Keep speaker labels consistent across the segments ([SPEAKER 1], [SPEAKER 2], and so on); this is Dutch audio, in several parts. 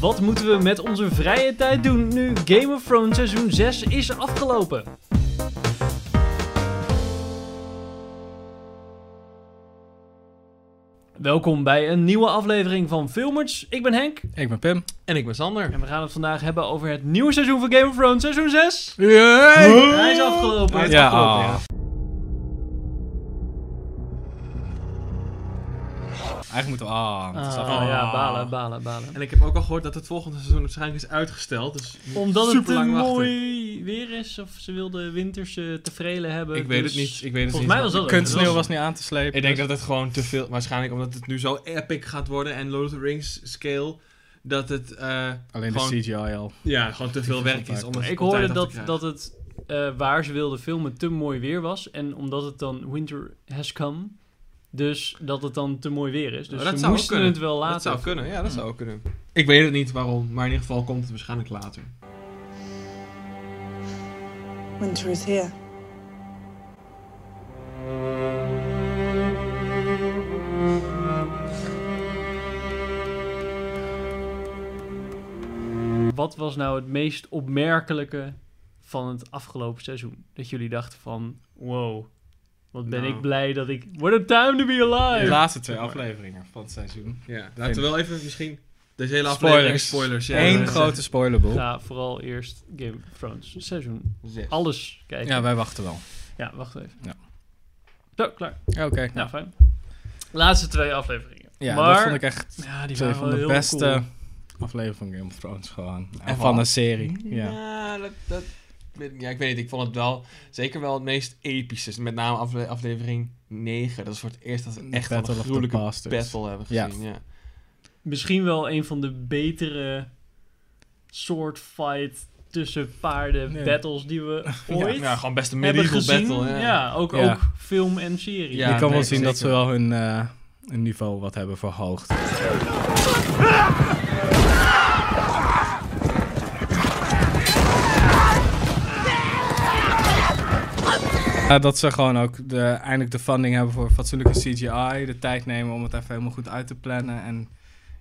[SPEAKER 1] Wat moeten we met onze vrije tijd doen nu Game of Thrones seizoen 6 is afgelopen? Welkom bij een nieuwe aflevering van Filmers. Ik ben Henk
[SPEAKER 2] Ik ben Pim.
[SPEAKER 3] En ik ben Sander.
[SPEAKER 1] en we gaan het vandaag hebben over het nieuwe seizoen van Game of Thrones, seizoen 6. Hij is afgelopen.
[SPEAKER 3] Hij is
[SPEAKER 2] Ja,
[SPEAKER 3] afgelopen,
[SPEAKER 2] ah. Eigenlijk moeten we... Ah,
[SPEAKER 3] Oh,
[SPEAKER 2] het is
[SPEAKER 1] Ah,
[SPEAKER 2] afgelopen.
[SPEAKER 1] ja, balen, balen, balen.
[SPEAKER 3] En ik heb ook al gehoord dat het volgende seizoen waarschijnlijk is uitgesteld. Dus we moeten
[SPEAKER 1] Omdat het
[SPEAKER 3] super
[SPEAKER 1] te
[SPEAKER 3] lang wachten.
[SPEAKER 1] mooi weer is of ze wilden winterse tevreden hebben.
[SPEAKER 3] Ik weet
[SPEAKER 1] dus-
[SPEAKER 3] het niet. Ik weet het
[SPEAKER 1] Volgens
[SPEAKER 3] niet.
[SPEAKER 1] mij was dat het.
[SPEAKER 2] Kunstsneeuw was niet aan te slepen. dus
[SPEAKER 3] Ik denk dat het gewoon te veel... Waarschijnlijk omdat het nu zo epic gaat worden en Lord of the Rings scale... Dat het eh,
[SPEAKER 2] Alleen
[SPEAKER 3] gewoon,
[SPEAKER 2] de CGI al.
[SPEAKER 3] ja, gewoon te veel werk is. Om het
[SPEAKER 1] Maar ik
[SPEAKER 3] op tijd
[SPEAKER 1] hoorde
[SPEAKER 3] af te
[SPEAKER 1] dat,
[SPEAKER 3] krijgen.
[SPEAKER 1] dat het eh, waar ze wilden filmen te mooi weer was. En omdat het dan winter has come. Dus dat het dan te mooi weer is. Dus
[SPEAKER 3] Oh, dat
[SPEAKER 1] ze
[SPEAKER 3] zou ook
[SPEAKER 1] moesten
[SPEAKER 3] kunnen.
[SPEAKER 1] het wel laten.
[SPEAKER 3] Dat zou kunnen, ja, dat zou
[SPEAKER 1] Hmm.
[SPEAKER 3] ook kunnen. Ik weet het niet waarom, maar in ieder geval komt het waarschijnlijk later.
[SPEAKER 4] Winter is here.
[SPEAKER 1] Wat was nou het meest opmerkelijke van het afgelopen seizoen? Dat jullie dachten van, wow, wat ben
[SPEAKER 3] Nou.
[SPEAKER 1] ik blij dat ik... What a time to be
[SPEAKER 2] De
[SPEAKER 1] alive!
[SPEAKER 2] laatste twee afleveringen van het seizoen.
[SPEAKER 3] Ja, laten
[SPEAKER 2] Vind-
[SPEAKER 3] we wel even misschien... Deze hele aflevering is spoilers. ja,
[SPEAKER 2] Eén
[SPEAKER 3] dat is-
[SPEAKER 2] grote spoilerboel. Ja.
[SPEAKER 1] Ga vooral eerst Game of Thrones seizoen. Alles kijken.
[SPEAKER 2] wij wachten wel.
[SPEAKER 1] Ja, wacht even.
[SPEAKER 2] Ja.
[SPEAKER 1] Zo, klaar.
[SPEAKER 2] Ja, Oké.
[SPEAKER 1] Nou, fijn. Laatste twee afleveringen.
[SPEAKER 2] Ja,
[SPEAKER 1] maar...
[SPEAKER 2] dat vond ik echt
[SPEAKER 1] Ja, die
[SPEAKER 2] een
[SPEAKER 1] waren
[SPEAKER 2] van
[SPEAKER 1] wel
[SPEAKER 2] de
[SPEAKER 1] heel
[SPEAKER 2] beste
[SPEAKER 1] cool.
[SPEAKER 2] afleveringen van Game of Thrones gewoon. En
[SPEAKER 3] En
[SPEAKER 2] van
[SPEAKER 3] van-
[SPEAKER 2] een serie. Ja.
[SPEAKER 3] Ja, dat, dat, weet ik- ja, ik weet niet. Ik vond het wel zeker wel het meest epische. Met name afle- aflevering 9. Dat is voor het eerst dat we echt wel
[SPEAKER 2] Battle
[SPEAKER 3] een
[SPEAKER 2] of the
[SPEAKER 3] gruwelijke
[SPEAKER 2] Bastards.
[SPEAKER 3] battle hebben
[SPEAKER 2] Ja.
[SPEAKER 3] gezien. Ja.
[SPEAKER 1] Misschien wel een van de betere soort fight tussen paarden
[SPEAKER 2] Nee.
[SPEAKER 1] battles die we ooit
[SPEAKER 3] Ja, nou, gewoon best een
[SPEAKER 1] hebben
[SPEAKER 3] medieval
[SPEAKER 1] gezien.
[SPEAKER 3] battle.
[SPEAKER 1] ja.
[SPEAKER 3] Ja.
[SPEAKER 1] ook,
[SPEAKER 2] Ja.
[SPEAKER 1] ook film en serie.
[SPEAKER 3] Ja,
[SPEAKER 2] Je kan wel
[SPEAKER 3] nee,
[SPEAKER 2] zien dat ze
[SPEAKER 3] zeker.
[SPEAKER 2] wel hun, eh, hun niveau wat hebben verhoogd. Ja, dat ze gewoon ook de, eindelijk de funding hebben voor fatsoenlijke CGI. De tijd nemen om het even helemaal goed uit te plannen. En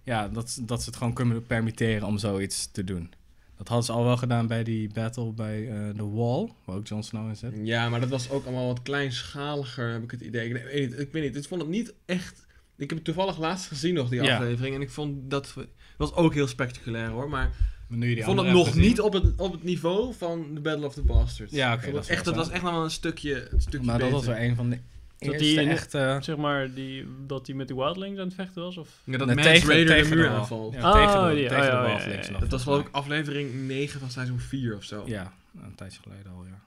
[SPEAKER 2] ja, dat, ze- dat ze het gewoon kunnen permitteren om zoiets te doen. Dat hadden ze al wel gedaan bij die battle bij eh, The Wall, waar ook Jon Snow in zit.
[SPEAKER 3] Ja, maar dat was ook allemaal wat kleinschaliger, heb ik het idee. Ik weet niet, ik, weet niet, ik vond het niet echt... Ik heb het toevallig laatst gezien nog, die
[SPEAKER 2] Ja.
[SPEAKER 3] aflevering. En ik vond dat... we- was ook heel spectaculair hoor, maar
[SPEAKER 2] Maar nu je die
[SPEAKER 3] ik vond het
[SPEAKER 2] andere
[SPEAKER 3] nog
[SPEAKER 2] hebt gezien-
[SPEAKER 3] niet op het, op het niveau van de Battle of the Bastards.
[SPEAKER 2] Ja, oké,
[SPEAKER 3] Ik vond
[SPEAKER 2] dat
[SPEAKER 3] het
[SPEAKER 2] is
[SPEAKER 3] echt,
[SPEAKER 2] wel
[SPEAKER 3] dat
[SPEAKER 2] zo.
[SPEAKER 3] was echt nog wel een stukje, een stukje
[SPEAKER 2] Maar dat
[SPEAKER 3] beter.
[SPEAKER 2] was wel een van de
[SPEAKER 1] Dat
[SPEAKER 2] eerste
[SPEAKER 1] die in-
[SPEAKER 2] echte...
[SPEAKER 1] Zeg maar die, dat die met de Wildlings aan het vechten was? Of?
[SPEAKER 3] Ja, dat
[SPEAKER 2] Nee,
[SPEAKER 3] Mans Raider de muur
[SPEAKER 2] wal.
[SPEAKER 3] aanvalt.
[SPEAKER 2] Ja,
[SPEAKER 1] Oh,
[SPEAKER 2] tegen de,
[SPEAKER 1] die-
[SPEAKER 2] tegen
[SPEAKER 1] oh,
[SPEAKER 2] de
[SPEAKER 1] ja,
[SPEAKER 2] wal
[SPEAKER 1] ja, ja,
[SPEAKER 2] links
[SPEAKER 1] ja.
[SPEAKER 2] en
[SPEAKER 3] Dat was geloof
[SPEAKER 2] volgens
[SPEAKER 3] ik aflevering 9 van seizoen 4 of zo.
[SPEAKER 2] mij. Ja, een tijdje geleden al, ja.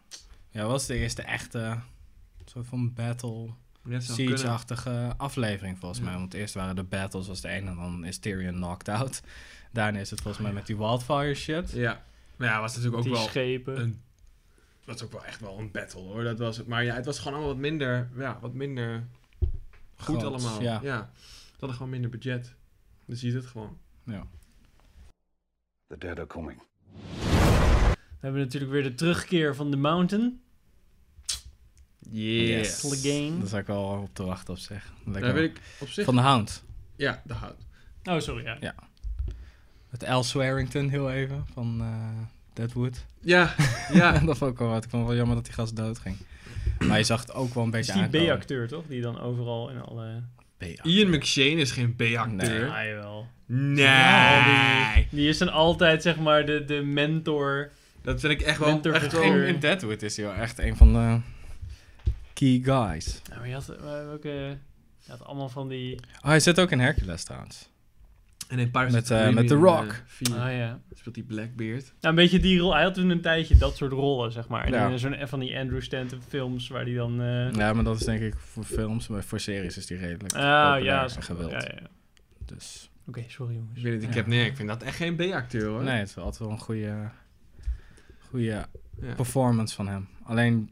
[SPEAKER 2] Ja, dat was de eerste echte soort van battle,
[SPEAKER 3] Net zou kunnen.
[SPEAKER 2] siege-achtige aflevering volgens
[SPEAKER 3] Ja.
[SPEAKER 2] mij. Want eerst waren de battles was de ene en dan is Tyrion knocked out. Daarna is het volgens mij met die wildfire shit.
[SPEAKER 3] Ja. Maar ja, was natuurlijk ook
[SPEAKER 1] die
[SPEAKER 3] wel
[SPEAKER 1] schepen.
[SPEAKER 3] een... was ook wel echt wel een battle hoor. Dat was het. Maar ja, het was gewoon allemaal wat minder... Ja, wat minder goed
[SPEAKER 2] Groots,
[SPEAKER 3] allemaal.
[SPEAKER 2] Ja.
[SPEAKER 3] Ja. Ze hadden gewoon minder budget. Dus je ziet het gewoon.
[SPEAKER 2] ja.
[SPEAKER 5] The dead are coming.
[SPEAKER 1] We hebben natuurlijk weer de terugkeer van The Mountain.
[SPEAKER 2] Yes.
[SPEAKER 1] Battle Game.
[SPEAKER 2] Daar zat ik al op te wachten op zich.
[SPEAKER 3] Daar
[SPEAKER 2] Lekker.
[SPEAKER 3] Nou, weet ik op zich...
[SPEAKER 2] Van de Hound.
[SPEAKER 3] Ja, de hout.
[SPEAKER 1] Oh, sorry, ja.
[SPEAKER 2] Met Al Swearington heel even, van eh, Deadwood.
[SPEAKER 3] Ja,
[SPEAKER 2] Ja,
[SPEAKER 3] ja.
[SPEAKER 2] dat vond ik wel wat. Ik vond het wel jammer dat die gast doodging. Maar je zag het ook wel een
[SPEAKER 1] Dat is
[SPEAKER 2] beetje
[SPEAKER 1] die
[SPEAKER 2] aankomen.
[SPEAKER 1] B-acteur, toch? Die dan overal in alle...
[SPEAKER 2] B-acteur.
[SPEAKER 3] Ian McShane is geen B-acteur.
[SPEAKER 1] Ja, jawel.
[SPEAKER 3] Nee.
[SPEAKER 1] Ja, Die is dan altijd, zeg maar, de, de mentor...
[SPEAKER 3] Dat vind ik echt wel...
[SPEAKER 1] Mentor
[SPEAKER 3] Echt
[SPEAKER 1] figuur.
[SPEAKER 3] wel
[SPEAKER 2] In Deadwood is hij wel echt een van de key guys.
[SPEAKER 1] Nou, maar je had, eh, welke, je had allemaal van die...
[SPEAKER 2] Oh, hij zit ook in Hercules trouwens.
[SPEAKER 3] en in Pirates
[SPEAKER 2] Met,
[SPEAKER 3] of the
[SPEAKER 2] eh, met The
[SPEAKER 3] Caribbean,
[SPEAKER 2] Rock.
[SPEAKER 3] eh, vier
[SPEAKER 1] Ah ja.
[SPEAKER 3] speelt die Blackbeard.
[SPEAKER 1] Nou, een beetje die rol. Hij had toen een tijdje dat soort rollen, zeg maar. En
[SPEAKER 2] Ja. Mm.
[SPEAKER 1] dan zo'n eh, van die Andrew Stanton films waar die dan... eh
[SPEAKER 2] Ja, maar dat is denk ik voor films, maar voor series is die redelijk
[SPEAKER 1] Ah,
[SPEAKER 2] populair
[SPEAKER 1] ja.
[SPEAKER 2] en
[SPEAKER 1] zo-
[SPEAKER 2] gewild.
[SPEAKER 1] Ja, ja. ja.
[SPEAKER 2] Dus
[SPEAKER 1] Oké, sorry jongens.
[SPEAKER 3] Ik weet niet, ik
[SPEAKER 2] Ja.
[SPEAKER 3] heb nee, ik vind dat echt geen B-acteur hoor.
[SPEAKER 2] nee, het is wel altijd wel een goede, goede
[SPEAKER 3] Ja.
[SPEAKER 2] performance van hem. Alleen,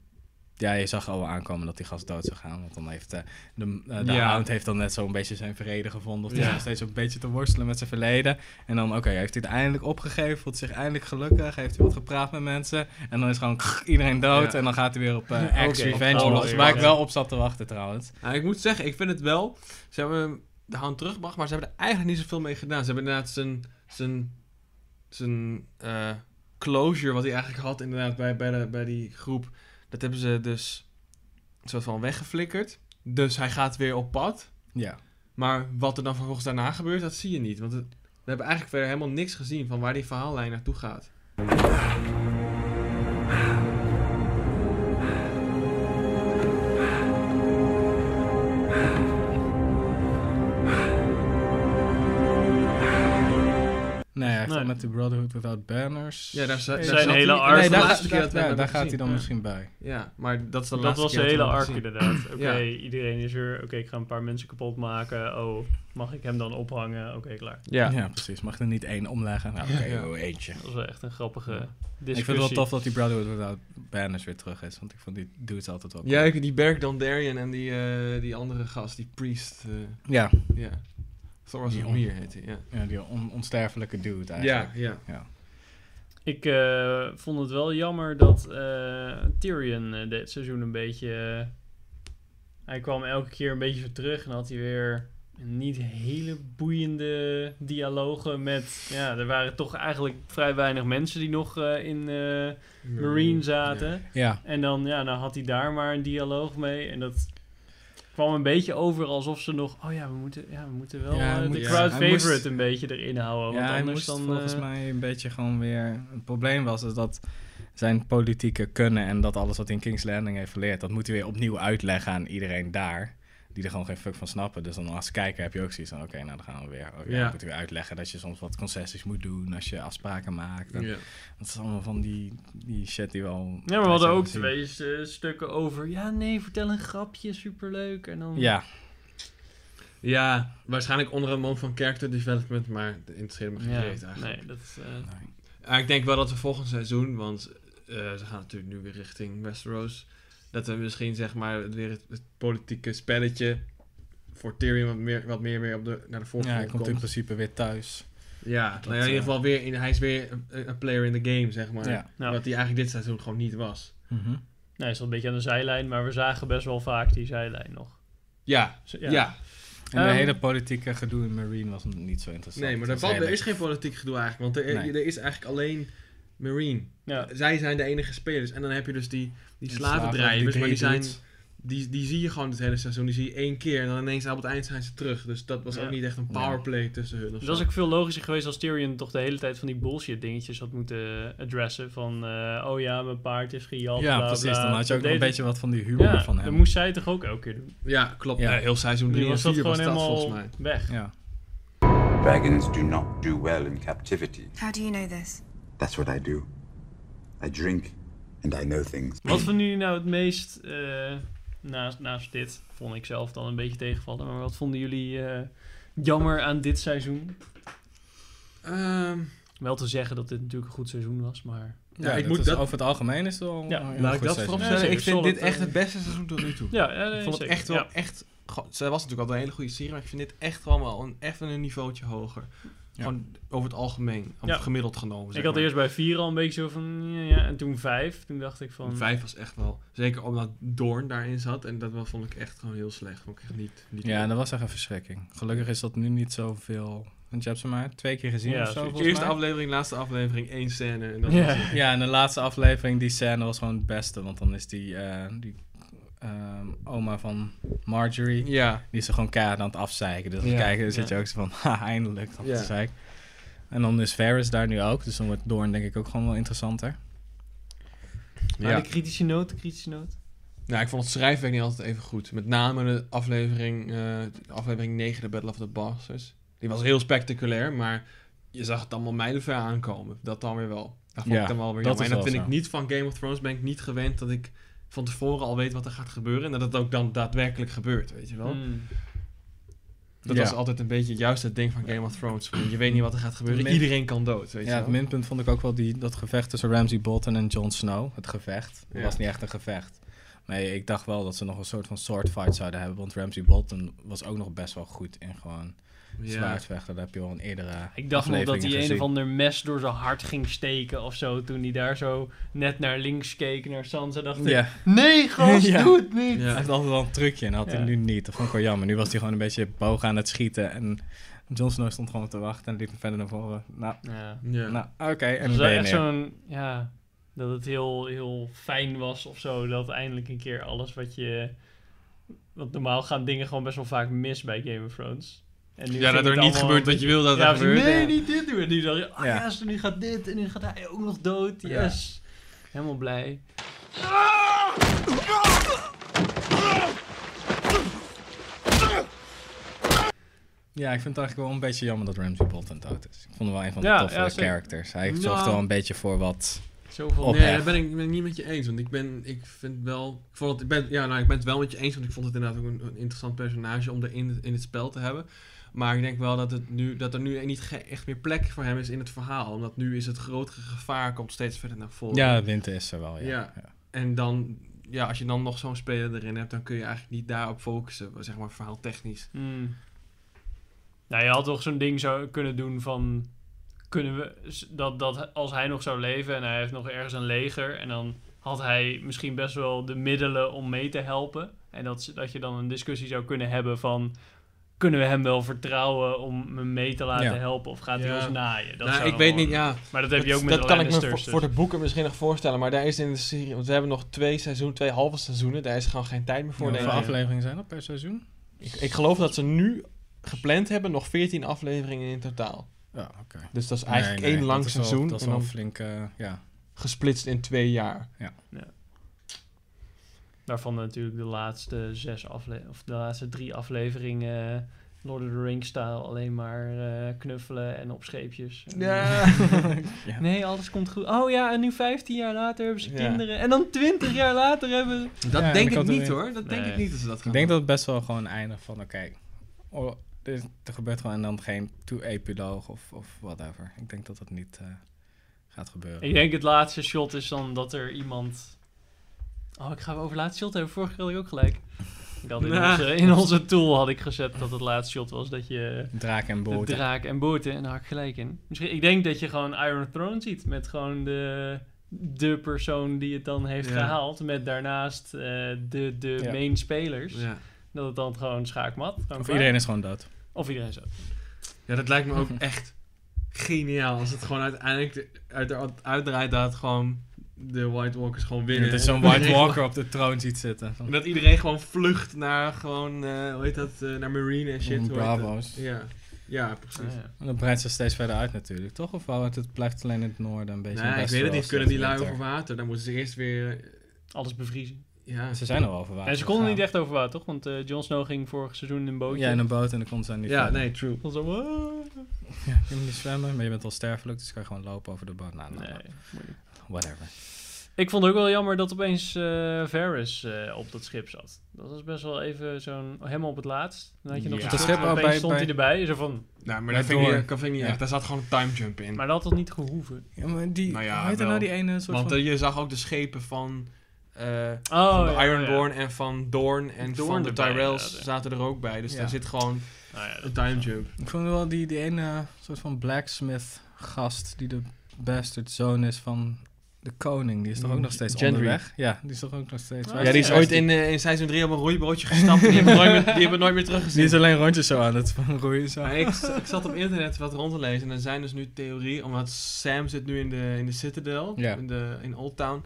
[SPEAKER 2] ja, je zag al wel aankomen dat die gast dood zou gaan. Want dan heeft eh, de, eh, de
[SPEAKER 3] Ja.
[SPEAKER 2] hound heeft dan net zo'n beetje zijn verrede gevonden. Of die
[SPEAKER 3] Ja.
[SPEAKER 2] is nog steeds een beetje te worstelen met zijn verleden. En dan, oké, heeft hij het eindelijk opgegeven? Voelt zich eindelijk gelukkig? Heeft hij wat gepraat met mensen? En dan is gewoon iedereen dood.
[SPEAKER 3] Ja.
[SPEAKER 2] En dan gaat hij weer op eh
[SPEAKER 1] Oké.
[SPEAKER 2] Axe
[SPEAKER 1] Op
[SPEAKER 2] Revenge.
[SPEAKER 1] alles
[SPEAKER 2] los,
[SPEAKER 1] weer,
[SPEAKER 2] waar ik
[SPEAKER 1] ja.
[SPEAKER 2] wel op zat te wachten trouwens.
[SPEAKER 3] Nou, ik moet zeggen, ik vind het wel. Ze hebben de hand teruggebracht, maar ze hebben er eigenlijk niet zoveel mee gedaan. Ze hebben inderdaad zijn, zijn zijn eh, closure wat hij eigenlijk had inderdaad bij, bij, de, bij die groep, dat hebben ze dus een soort van weggeflikkerd. Dus hij gaat weer op pad.
[SPEAKER 2] Ja.
[SPEAKER 3] Maar wat er dan vervolgens daarna gebeurt, dat zie je niet. Want het- we hebben eigenlijk verder helemaal niks gezien van waar die verhaallijn naartoe gaat.
[SPEAKER 2] Nee, hij heeft
[SPEAKER 1] Nee.
[SPEAKER 2] al met de Brotherhood Without Banners.
[SPEAKER 3] Ja, daar za- daar
[SPEAKER 2] Nee,
[SPEAKER 1] Zijn
[SPEAKER 3] zat
[SPEAKER 1] hele
[SPEAKER 3] hij-
[SPEAKER 1] arc.
[SPEAKER 2] Nee,
[SPEAKER 1] de
[SPEAKER 2] daar,
[SPEAKER 3] Nee, daar,
[SPEAKER 2] daar,
[SPEAKER 1] laatste
[SPEAKER 3] keer dat we hem
[SPEAKER 2] daar
[SPEAKER 3] hebben
[SPEAKER 2] gaat hij dan
[SPEAKER 3] gezien. Ja.
[SPEAKER 2] misschien bij.
[SPEAKER 3] Ja, maar dat is de
[SPEAKER 1] Dat
[SPEAKER 3] laatste
[SPEAKER 1] was de
[SPEAKER 3] keer
[SPEAKER 1] hele
[SPEAKER 3] we hem
[SPEAKER 1] arc
[SPEAKER 3] hebben
[SPEAKER 1] inderdaad. Oké,
[SPEAKER 3] Ja.
[SPEAKER 1] iedereen is er. Oké, ik ga een paar mensen kapot maken. Oh, mag ik hem dan ophangen? Oké, klaar.
[SPEAKER 3] gezien. Ja.
[SPEAKER 2] Ja, precies. Mag er niet één omleggen? Nou, oké,
[SPEAKER 3] Ja.
[SPEAKER 2] oh, eentje.
[SPEAKER 1] Dat was wel echt een grappige
[SPEAKER 2] Ja.
[SPEAKER 1] discussie.
[SPEAKER 2] Ik vind het wel tof dat die Brotherhood Without Banners weer terug is. Want ik vond die dudes altijd wel cool.
[SPEAKER 3] Ja, ik- die Berk Dondarrion en die, eh, die andere gast, die priest. eh,
[SPEAKER 2] Ja,
[SPEAKER 3] ja. Thoros
[SPEAKER 2] Die
[SPEAKER 3] of Mir heet hij, ja.
[SPEAKER 2] ja, die on- onsterfelijke dude
[SPEAKER 3] Ja,
[SPEAKER 2] eigenlijk.
[SPEAKER 3] ja.
[SPEAKER 1] Ik eh, vond het wel jammer dat eh, Tyrion eh, dit seizoen een beetje... eh, hij kwam elke keer een beetje zo terug en had hij weer niet hele boeiende dialogen met... Ja, er waren toch eigenlijk vrij weinig mensen die nog eh, in eh, Marine zaten.
[SPEAKER 3] Ja.
[SPEAKER 2] Ja,
[SPEAKER 1] En dan, ja, dan had hij daar maar een dialoog mee. En dat kwam een beetje over alsof ze nog... Oh ja, we moeten, ja, we moeten wel
[SPEAKER 2] Ja, hij
[SPEAKER 1] eh, de
[SPEAKER 2] moet-
[SPEAKER 3] ja,
[SPEAKER 1] crowd
[SPEAKER 2] hij moest-
[SPEAKER 1] favorite een beetje erin houden.
[SPEAKER 2] ja
[SPEAKER 1] want
[SPEAKER 2] hij
[SPEAKER 1] anders
[SPEAKER 2] moest
[SPEAKER 1] dan...
[SPEAKER 2] volgens
[SPEAKER 1] eh,
[SPEAKER 2] mij een beetje gewoon weer... Het probleem was dus dat zijn politieke kunnen en dat alles wat hij in King's Landing heeft geleerd... dat moet hij weer opnieuw uitleggen aan iedereen daar... Die er gewoon geen fuck van snappen. Dus dan als kijker heb je ook zoiets van... Oké, nou dan gaan we weer. Oh, ja,
[SPEAKER 3] Ja.
[SPEAKER 2] dan moet je weer uitleggen dat je soms wat concessies moet doen... als je afspraken maakt. En Dat is allemaal van die, die shit die wel...
[SPEAKER 1] Ja, maar we hadden ook twee eh, stukken over... Ja, nee, vertel een grapje, superleuk. En dan...
[SPEAKER 2] Ja,
[SPEAKER 3] Ja, waarschijnlijk onder een mom van character development, maar de interesseert me geen
[SPEAKER 1] Ja,
[SPEAKER 3] reet eigenlijk.
[SPEAKER 1] nee, dat is... eh,
[SPEAKER 2] Nou,
[SPEAKER 3] Ah, ik denk wel dat we volgend seizoen, want eh, ze gaan natuurlijk nu weer richting Westeros, dat we misschien zeg maar het weer het, het politieke spelletje voor Tyrion wat meer, wat meer, weer op de, naar de
[SPEAKER 2] ja, hij
[SPEAKER 3] voorgrond
[SPEAKER 2] komt in
[SPEAKER 3] komt.
[SPEAKER 2] principe weer thuis.
[SPEAKER 3] Ja, nou ja,
[SPEAKER 2] eh,
[SPEAKER 3] in ieder geval weer, in, hij is weer een- een player in the game, zeg maar.
[SPEAKER 2] Ja.
[SPEAKER 1] Ja.
[SPEAKER 3] Wat hij eigenlijk dit seizoen gewoon niet was.
[SPEAKER 1] nou. Nee, hij is wel een beetje aan de zijlijn, maar we zagen best wel vaak die zijlijn nog.
[SPEAKER 3] Ja,
[SPEAKER 1] Z-
[SPEAKER 3] ja.
[SPEAKER 2] En de
[SPEAKER 1] Ehm,
[SPEAKER 2] hele politieke gedoe in Marine was niet zo interessant.
[SPEAKER 3] Nee, maar er,
[SPEAKER 2] Dat
[SPEAKER 3] valt,
[SPEAKER 2] was
[SPEAKER 3] er
[SPEAKER 2] heel
[SPEAKER 3] is geen politiek gedoe eigenlijk, want er,
[SPEAKER 2] Nee.
[SPEAKER 3] er is eigenlijk alleen Marine.
[SPEAKER 1] Ja.
[SPEAKER 3] Zij zijn de enige spelers. En dan heb je dus die, die
[SPEAKER 2] Die
[SPEAKER 3] slavendrijvers,
[SPEAKER 2] slaven,
[SPEAKER 3] maar die,
[SPEAKER 2] die
[SPEAKER 3] zijn,
[SPEAKER 2] dudes.
[SPEAKER 3] die, die zie je gewoon het hele seizoen. Die zie je één keer en dan ineens op het eind zijn ze terug. Dus dat was
[SPEAKER 1] Ja.
[SPEAKER 3] ook niet echt een powerplay tussen hun. Of
[SPEAKER 1] Dus
[SPEAKER 3] zo.
[SPEAKER 1] dat is ook veel logischer geweest als Tyrion toch de hele tijd van die bullshit dingetjes had moeten addressen. Van, eh, oh ja, mijn paard is gejat,
[SPEAKER 2] Ja,
[SPEAKER 1] bla,
[SPEAKER 2] precies.
[SPEAKER 1] bla.
[SPEAKER 2] Dan had je ook
[SPEAKER 1] Dat
[SPEAKER 2] nog een
[SPEAKER 1] deed-
[SPEAKER 2] beetje wat van die humor
[SPEAKER 1] ja,
[SPEAKER 2] van
[SPEAKER 1] dat
[SPEAKER 2] hem.
[SPEAKER 1] moest zij toch ook elke keer doen.
[SPEAKER 3] Ja, klopt.
[SPEAKER 2] Ja.
[SPEAKER 3] Ja. heel seizoen
[SPEAKER 1] Nu
[SPEAKER 3] 3 en
[SPEAKER 1] was dat
[SPEAKER 3] 4
[SPEAKER 1] gewoon
[SPEAKER 3] was dat volgens
[SPEAKER 1] helemaal
[SPEAKER 3] mij.
[SPEAKER 1] weg.
[SPEAKER 2] Ja.
[SPEAKER 5] Dragons do not do well in captivity.
[SPEAKER 6] How do you know this?
[SPEAKER 5] That's what I do. I drink and I know things.
[SPEAKER 1] Wat van nu nou het meest, eh, naast, naast dit, vond ik zelf dan een beetje tegenvallen. Maar wat vonden jullie eh, jammer aan dit seizoen?
[SPEAKER 3] Ehm,
[SPEAKER 1] Wel te zeggen dat dit natuurlijk een goed seizoen was, maar...
[SPEAKER 3] Ja,
[SPEAKER 2] Ja,
[SPEAKER 3] ik
[SPEAKER 2] dat
[SPEAKER 3] moet
[SPEAKER 2] is-
[SPEAKER 3] dat-
[SPEAKER 2] Over het algemeen is het wel...
[SPEAKER 1] Ja,
[SPEAKER 2] een heel
[SPEAKER 3] laat ik
[SPEAKER 2] goed
[SPEAKER 3] dat
[SPEAKER 2] seizoen.
[SPEAKER 3] voorop
[SPEAKER 1] Ja,
[SPEAKER 3] zeggen. Ik
[SPEAKER 1] zeker,
[SPEAKER 3] vind dit
[SPEAKER 1] solid,
[SPEAKER 3] echt
[SPEAKER 1] eh.
[SPEAKER 3] het beste seizoen tot nu toe.
[SPEAKER 1] Ja, ja, nee,
[SPEAKER 3] ik vond het
[SPEAKER 1] zeker,
[SPEAKER 3] echt wel
[SPEAKER 1] ja.
[SPEAKER 3] echt... Ze was natuurlijk altijd een hele goede serie, maar ik vind dit echt gewoon wel een, even een niveautje hoger. Gewoon over het algemeen,
[SPEAKER 1] Ja.
[SPEAKER 3] gemiddeld genomen. zeg nou?
[SPEAKER 1] Ik had
[SPEAKER 3] maar.
[SPEAKER 1] eerst bij vier al een beetje zo van... Ja, ja, en toen vijf. Toen dacht ik van...
[SPEAKER 3] Vijf was echt wel. Zeker omdat Doorn daarin zat. En dat wel- vond ik echt gewoon heel slecht. Vond ik echt niet. niet
[SPEAKER 2] Ja, nou, en dat was echt een verschrikking. Gelukkig is dat nu niet zoveel... Want je hebt ze maar twee keer gezien
[SPEAKER 1] Ja,
[SPEAKER 2] of zo,
[SPEAKER 1] precies.
[SPEAKER 2] volgens
[SPEAKER 3] dus Eerste
[SPEAKER 2] mij.
[SPEAKER 3] aflevering, laatste aflevering, één scène. En dat
[SPEAKER 1] Ja.
[SPEAKER 3] was het.
[SPEAKER 2] Ja, en de laatste aflevering, die scène was gewoon het beste. Want dan is die, eh, die ehm, oma van Marjorie...
[SPEAKER 3] Ja.
[SPEAKER 2] Die is er gewoon keihard aan het afzeiken. Dus als
[SPEAKER 3] Ja.
[SPEAKER 2] kijken, dan zit je
[SPEAKER 1] Ja.
[SPEAKER 2] ook zo van, ha, eindelijk. Dat
[SPEAKER 3] Ja.
[SPEAKER 2] is zeik. En dan is Ferris daar nu ook. Dus dan wordt Doorn denk ik ook gewoon wel interessanter.
[SPEAKER 1] Maar de kritische noot, de kritische noot.
[SPEAKER 3] Nou, ik vond het schrijfwerk niet altijd even goed. Met name de aflevering, eh, de aflevering 9, de Battle of the Bastards. Die was heel spectaculair, maar je zag het allemaal mijlenver aankomen. Dat dan weer wel. Dat vond
[SPEAKER 2] Ja,
[SPEAKER 3] ik dan wel weer
[SPEAKER 2] dat
[SPEAKER 3] jammer.
[SPEAKER 2] is
[SPEAKER 3] en dat
[SPEAKER 2] wel
[SPEAKER 3] vind ik
[SPEAKER 2] zo.
[SPEAKER 3] niet van Game of Thrones. Ben ik niet gewend dat ik van tevoren al weet wat er gaat gebeuren. En dat het ook dan daadwerkelijk gebeurt, weet je wel.
[SPEAKER 1] Hmm.
[SPEAKER 3] Dat
[SPEAKER 2] Ja.
[SPEAKER 3] was altijd een beetje juist het ding van Game of Thrones. van Je weet niet wat er gaat gebeuren.
[SPEAKER 2] Min-
[SPEAKER 3] Iedereen kan dood, weet
[SPEAKER 2] ja,
[SPEAKER 3] je
[SPEAKER 2] het
[SPEAKER 3] wel.
[SPEAKER 2] minpunt vond ik ook wel die, dat gevecht tussen Ramsay Bolton en Jon Snow. Het gevecht. Het
[SPEAKER 3] Ja.
[SPEAKER 2] was niet echt een gevecht. Maar ik dacht wel dat ze nog een soort van sword fight zouden hebben. Want Ramsay Bolton was ook nog best wel goed in gewoon
[SPEAKER 3] Ja.
[SPEAKER 2] zwaardvechten. Dat heb je al in eerdere
[SPEAKER 1] Ik dacht nog dat
[SPEAKER 2] afleveringen
[SPEAKER 1] hij een
[SPEAKER 2] gezien.
[SPEAKER 1] of ander mes door zijn hart ging steken of zo. Toen hij daar zo net naar links keek, naar Sansa. dacht ik,
[SPEAKER 2] Ja.
[SPEAKER 1] nee gast,
[SPEAKER 2] Ja.
[SPEAKER 1] doe het niet.
[SPEAKER 2] Hij
[SPEAKER 3] Ja.
[SPEAKER 2] heeft altijd wel een trucje en dat had
[SPEAKER 1] Ja.
[SPEAKER 2] hij nu niet. Dat vond ik wel jammer. Nu was hij gewoon een beetje boog aan het schieten en Jon Snow stond gewoon te wachten en liep verder naar voren. Nou,
[SPEAKER 1] Ja.
[SPEAKER 3] Ja.
[SPEAKER 2] nou oké.
[SPEAKER 1] Het
[SPEAKER 2] en
[SPEAKER 1] was
[SPEAKER 2] dan ben je
[SPEAKER 1] echt
[SPEAKER 2] neer.
[SPEAKER 1] zo'n, ja, dat het heel, heel fijn was of zo. Dat eindelijk een keer alles wat je... Want normaal gaan dingen gewoon best wel vaak mis bij Game of Thrones. En nu
[SPEAKER 3] ja,
[SPEAKER 1] ging het
[SPEAKER 3] dat er niet
[SPEAKER 1] allemaal-
[SPEAKER 3] gebeurt wat je wil dat
[SPEAKER 1] ja,
[SPEAKER 3] er
[SPEAKER 1] precies.
[SPEAKER 3] gebeurt.
[SPEAKER 1] nee, niet dit doen. En nu dacht je, ah
[SPEAKER 2] Ja.
[SPEAKER 1] ja, zo, nu gaat dit en nu gaat hij ook nog dood.
[SPEAKER 2] Ja.
[SPEAKER 1] Yes. Helemaal blij.
[SPEAKER 2] Ja, ik vind het eigenlijk wel een beetje jammer dat Ramsey Bolton dood is. Ik vond hem wel een van de
[SPEAKER 1] Ja,
[SPEAKER 2] toffe
[SPEAKER 1] ja, zeker.
[SPEAKER 2] characters. Hij
[SPEAKER 3] Nou.
[SPEAKER 2] zorgde wel een beetje voor wat...
[SPEAKER 1] Zoveel
[SPEAKER 2] Op.
[SPEAKER 3] Nee,
[SPEAKER 2] Ophef.
[SPEAKER 3] daar ben ik ben ik niet met je eens. Want ik ben, ik vind wel, ik, vond het, ik, ben, ja, nou, ik ben het wel met je eens, want ik vond het inderdaad ook een, een interessant personage om er in, in het spel te hebben. Maar ik denk wel dat, het nu, dat er nu niet ge- echt meer plek voor hem is in het verhaal. Omdat nu is het grotere gevaar, komt steeds verder naar voren.
[SPEAKER 2] Ja, Winter is er wel, ja.
[SPEAKER 3] Ja. En dan, ja, als je dan nog zo'n speler erin hebt, dan kun je eigenlijk niet daarop focussen, zeg maar verhaaltechnisch.
[SPEAKER 1] Hmm. Nou, je had toch zo'n ding zou kunnen doen van... Kunnen we, s- dat, dat als hij nog zou leven en hij heeft nog ergens een leger... en dan had hij misschien best wel de middelen om mee te helpen. En dat, s- dat je dan een discussie zou kunnen hebben van... kunnen we hem wel vertrouwen om me mee te laten
[SPEAKER 2] Ja.
[SPEAKER 1] helpen... of gaat hij
[SPEAKER 3] Ja.
[SPEAKER 1] ons naaien? Dat
[SPEAKER 3] nou,
[SPEAKER 1] zou
[SPEAKER 3] ik
[SPEAKER 1] dan
[SPEAKER 3] weet
[SPEAKER 1] wel-
[SPEAKER 3] niet, ja.
[SPEAKER 1] Maar dat heb je ook met
[SPEAKER 3] dat
[SPEAKER 1] de
[SPEAKER 3] kan ik me voor,
[SPEAKER 1] Lannisters, dus
[SPEAKER 3] voor de boeken misschien nog voorstellen. Maar daar is in de serie, want we hebben nog twee seizoenen, twee halve seizoenen. Daar is gewoon geen tijd meer voor.
[SPEAKER 2] Hoeveel
[SPEAKER 3] denk ik.
[SPEAKER 2] afleveringen zijn dat per seizoen?
[SPEAKER 3] Ik, ik geloof dat ze nu gepland hebben nog 14 afleveringen in totaal.
[SPEAKER 2] Ja, oké.
[SPEAKER 3] Dus dat is eigenlijk
[SPEAKER 2] Nee, nee,
[SPEAKER 3] één lang
[SPEAKER 2] dat is wel-
[SPEAKER 3] seizoen
[SPEAKER 2] Dat is
[SPEAKER 3] en
[SPEAKER 2] wel
[SPEAKER 3] dan
[SPEAKER 2] een flinke... Ja,
[SPEAKER 3] gesplitst in twee jaar.
[SPEAKER 1] Daarvan natuurlijk de laatste zes afle of de laatste drie afleveringen eh, Lord of the Rings style alleen maar eh, knuffelen en op scheepjes. En-
[SPEAKER 2] Ja.
[SPEAKER 1] Nee, alles komt goed. Oh ja, en nu 15 jaar later hebben ze
[SPEAKER 3] Ja.
[SPEAKER 1] kinderen. En dan 20 jaar later hebben ze.
[SPEAKER 3] Dat
[SPEAKER 2] Ja, en
[SPEAKER 3] denk
[SPEAKER 2] dan
[SPEAKER 3] ik
[SPEAKER 2] komt er
[SPEAKER 3] niet
[SPEAKER 2] weer-
[SPEAKER 3] hoor. Dat denk
[SPEAKER 1] Nee.
[SPEAKER 3] ik niet dat ze dat gaan
[SPEAKER 2] Ik denk
[SPEAKER 3] doen.
[SPEAKER 2] dat het best wel gewoon eindigt van, oké, oh, dit- er gebeurt gewoon en dan geen toe epiloog of, of whatever. Ik denk dat dat niet eh, gaat gebeuren.
[SPEAKER 1] Ik denk het laatste shot is dan dat er iemand. Oh, ik ga over het laatste shot hebben. Vorige keer had ik ook gelijk. Ik had in,
[SPEAKER 3] Nah.
[SPEAKER 1] onze, in onze tool had ik gezet dat het laatste shot was dat je
[SPEAKER 2] Draak en
[SPEAKER 1] de
[SPEAKER 2] boot.
[SPEAKER 1] draak en boten. En daar had ik gelijk in. Misschien, ik denk dat je gewoon Iron Throne ziet met gewoon de, de persoon die het dan heeft
[SPEAKER 3] Ja.
[SPEAKER 1] gehaald. Met daarnaast eh, de, de
[SPEAKER 2] Ja.
[SPEAKER 1] main spelers.
[SPEAKER 3] Ja.
[SPEAKER 1] Dat het dan gewoon schaakmat. Gewoon
[SPEAKER 2] Of
[SPEAKER 1] klaar.
[SPEAKER 2] iedereen is gewoon dood.
[SPEAKER 1] Of iedereen zo.
[SPEAKER 3] ja, dat lijkt me ook echt geniaal. Als het gewoon uiteindelijk de- uit, uit- uitdraait dat gewoon de White Walkers gewoon
[SPEAKER 2] Ja,
[SPEAKER 3] winnen.
[SPEAKER 2] dat is zo'n
[SPEAKER 3] En
[SPEAKER 2] White
[SPEAKER 3] iedereen
[SPEAKER 2] Walker op de troon ziet zitten.
[SPEAKER 3] gewoon- Dat iedereen gewoon vlucht naar gewoon, eh, hoe heet dat, eh, naar Marine en shit. hoe heet dat?
[SPEAKER 2] Mm, Bravo's.
[SPEAKER 3] Ja. ja, precies.
[SPEAKER 1] Nou Ja.
[SPEAKER 2] En dat breidt ze steeds verder uit natuurlijk, toch? Of wou het, het blijft alleen in het noorden een beetje?
[SPEAKER 3] Nou,
[SPEAKER 2] in
[SPEAKER 3] ik weet het niet.
[SPEAKER 2] Westeros
[SPEAKER 3] Kunnen die
[SPEAKER 2] tot
[SPEAKER 3] lui
[SPEAKER 2] winter.
[SPEAKER 3] over water? Dan moeten ze eerst weer... eh,
[SPEAKER 1] Alles bevriezen.
[SPEAKER 3] Ja,
[SPEAKER 2] Ze zijn al over water.
[SPEAKER 1] en ze konden
[SPEAKER 2] gegaan.
[SPEAKER 1] niet echt over water, toch? Want eh Jon Snow ging vorig seizoen in een bootje.
[SPEAKER 2] Ja, in een boot en dan konden ze niet
[SPEAKER 3] ja
[SPEAKER 2] verder.
[SPEAKER 3] nee, true.
[SPEAKER 1] Dan zo, "Ah."
[SPEAKER 2] Ja, je moet niet zwemmen, maar je bent al sterfelijk, dus kan je gewoon lopen over de boot. Nou, nou,
[SPEAKER 1] Nee,
[SPEAKER 2] nou,
[SPEAKER 1] moeilijk.
[SPEAKER 2] whatever.
[SPEAKER 1] Ik vond het ook wel jammer dat opeens eh Varys eh, op dat schip zat. Dat was best wel even zo'n... Helemaal op het laatst. Dan had je nog
[SPEAKER 3] Ja.
[SPEAKER 1] een
[SPEAKER 3] Dat
[SPEAKER 1] schip,
[SPEAKER 2] schip, oh,
[SPEAKER 1] opeens
[SPEAKER 2] bij-
[SPEAKER 1] stond
[SPEAKER 2] bij-
[SPEAKER 1] hij erbij. Zo van,
[SPEAKER 3] Nou, maar
[SPEAKER 2] Maar
[SPEAKER 3] dat vind, ik,
[SPEAKER 2] door.
[SPEAKER 3] niet- dat vind ik niet
[SPEAKER 2] Ja.
[SPEAKER 3] echt. Daar zat gewoon een time jump in.
[SPEAKER 1] maar dat had toch niet gehoeven?
[SPEAKER 2] Ja, maar die,
[SPEAKER 3] Nou ja,
[SPEAKER 2] hoe heet er
[SPEAKER 3] wel.
[SPEAKER 2] nou die ene soort
[SPEAKER 3] Want
[SPEAKER 2] van...
[SPEAKER 3] eh, je zag ook de schepen van, eh,
[SPEAKER 1] Oh,
[SPEAKER 3] van de
[SPEAKER 1] ja,
[SPEAKER 3] Ironborn en van Dorn en
[SPEAKER 1] Dorn
[SPEAKER 3] van de
[SPEAKER 1] erbij,
[SPEAKER 3] Tyrells
[SPEAKER 1] inderdaad, ja.
[SPEAKER 3] zaten er ook bij. Dus
[SPEAKER 2] Ja.
[SPEAKER 3] daar zit gewoon
[SPEAKER 1] ja. Nou ja,
[SPEAKER 3] een
[SPEAKER 1] dat-
[SPEAKER 3] time jump.
[SPEAKER 2] Ik vond wel die, die ene soort van blacksmith gast die de bastard zoon is van de koning. Die is toch ook nog steeds
[SPEAKER 3] Gendry.
[SPEAKER 2] onderweg? Ja, die is toch ook nog steeds...
[SPEAKER 1] Ja,
[SPEAKER 2] waar
[SPEAKER 3] Ja, die is
[SPEAKER 1] Ja,
[SPEAKER 3] ooit
[SPEAKER 2] die-
[SPEAKER 3] in, eh, in seizoen 3 op een roeibootje gestapt en die hebben we nooit meer, die hebben we nooit meer teruggezien.
[SPEAKER 2] Die is alleen rondjes zo aan het van roeien zo.
[SPEAKER 3] Maar ik, ik zat op internet wat rond te lezen en er zijn dus nu theorieën, omdat Sam zit nu in de, in de Citadel,
[SPEAKER 2] Ja.
[SPEAKER 3] in, de, in Old Town.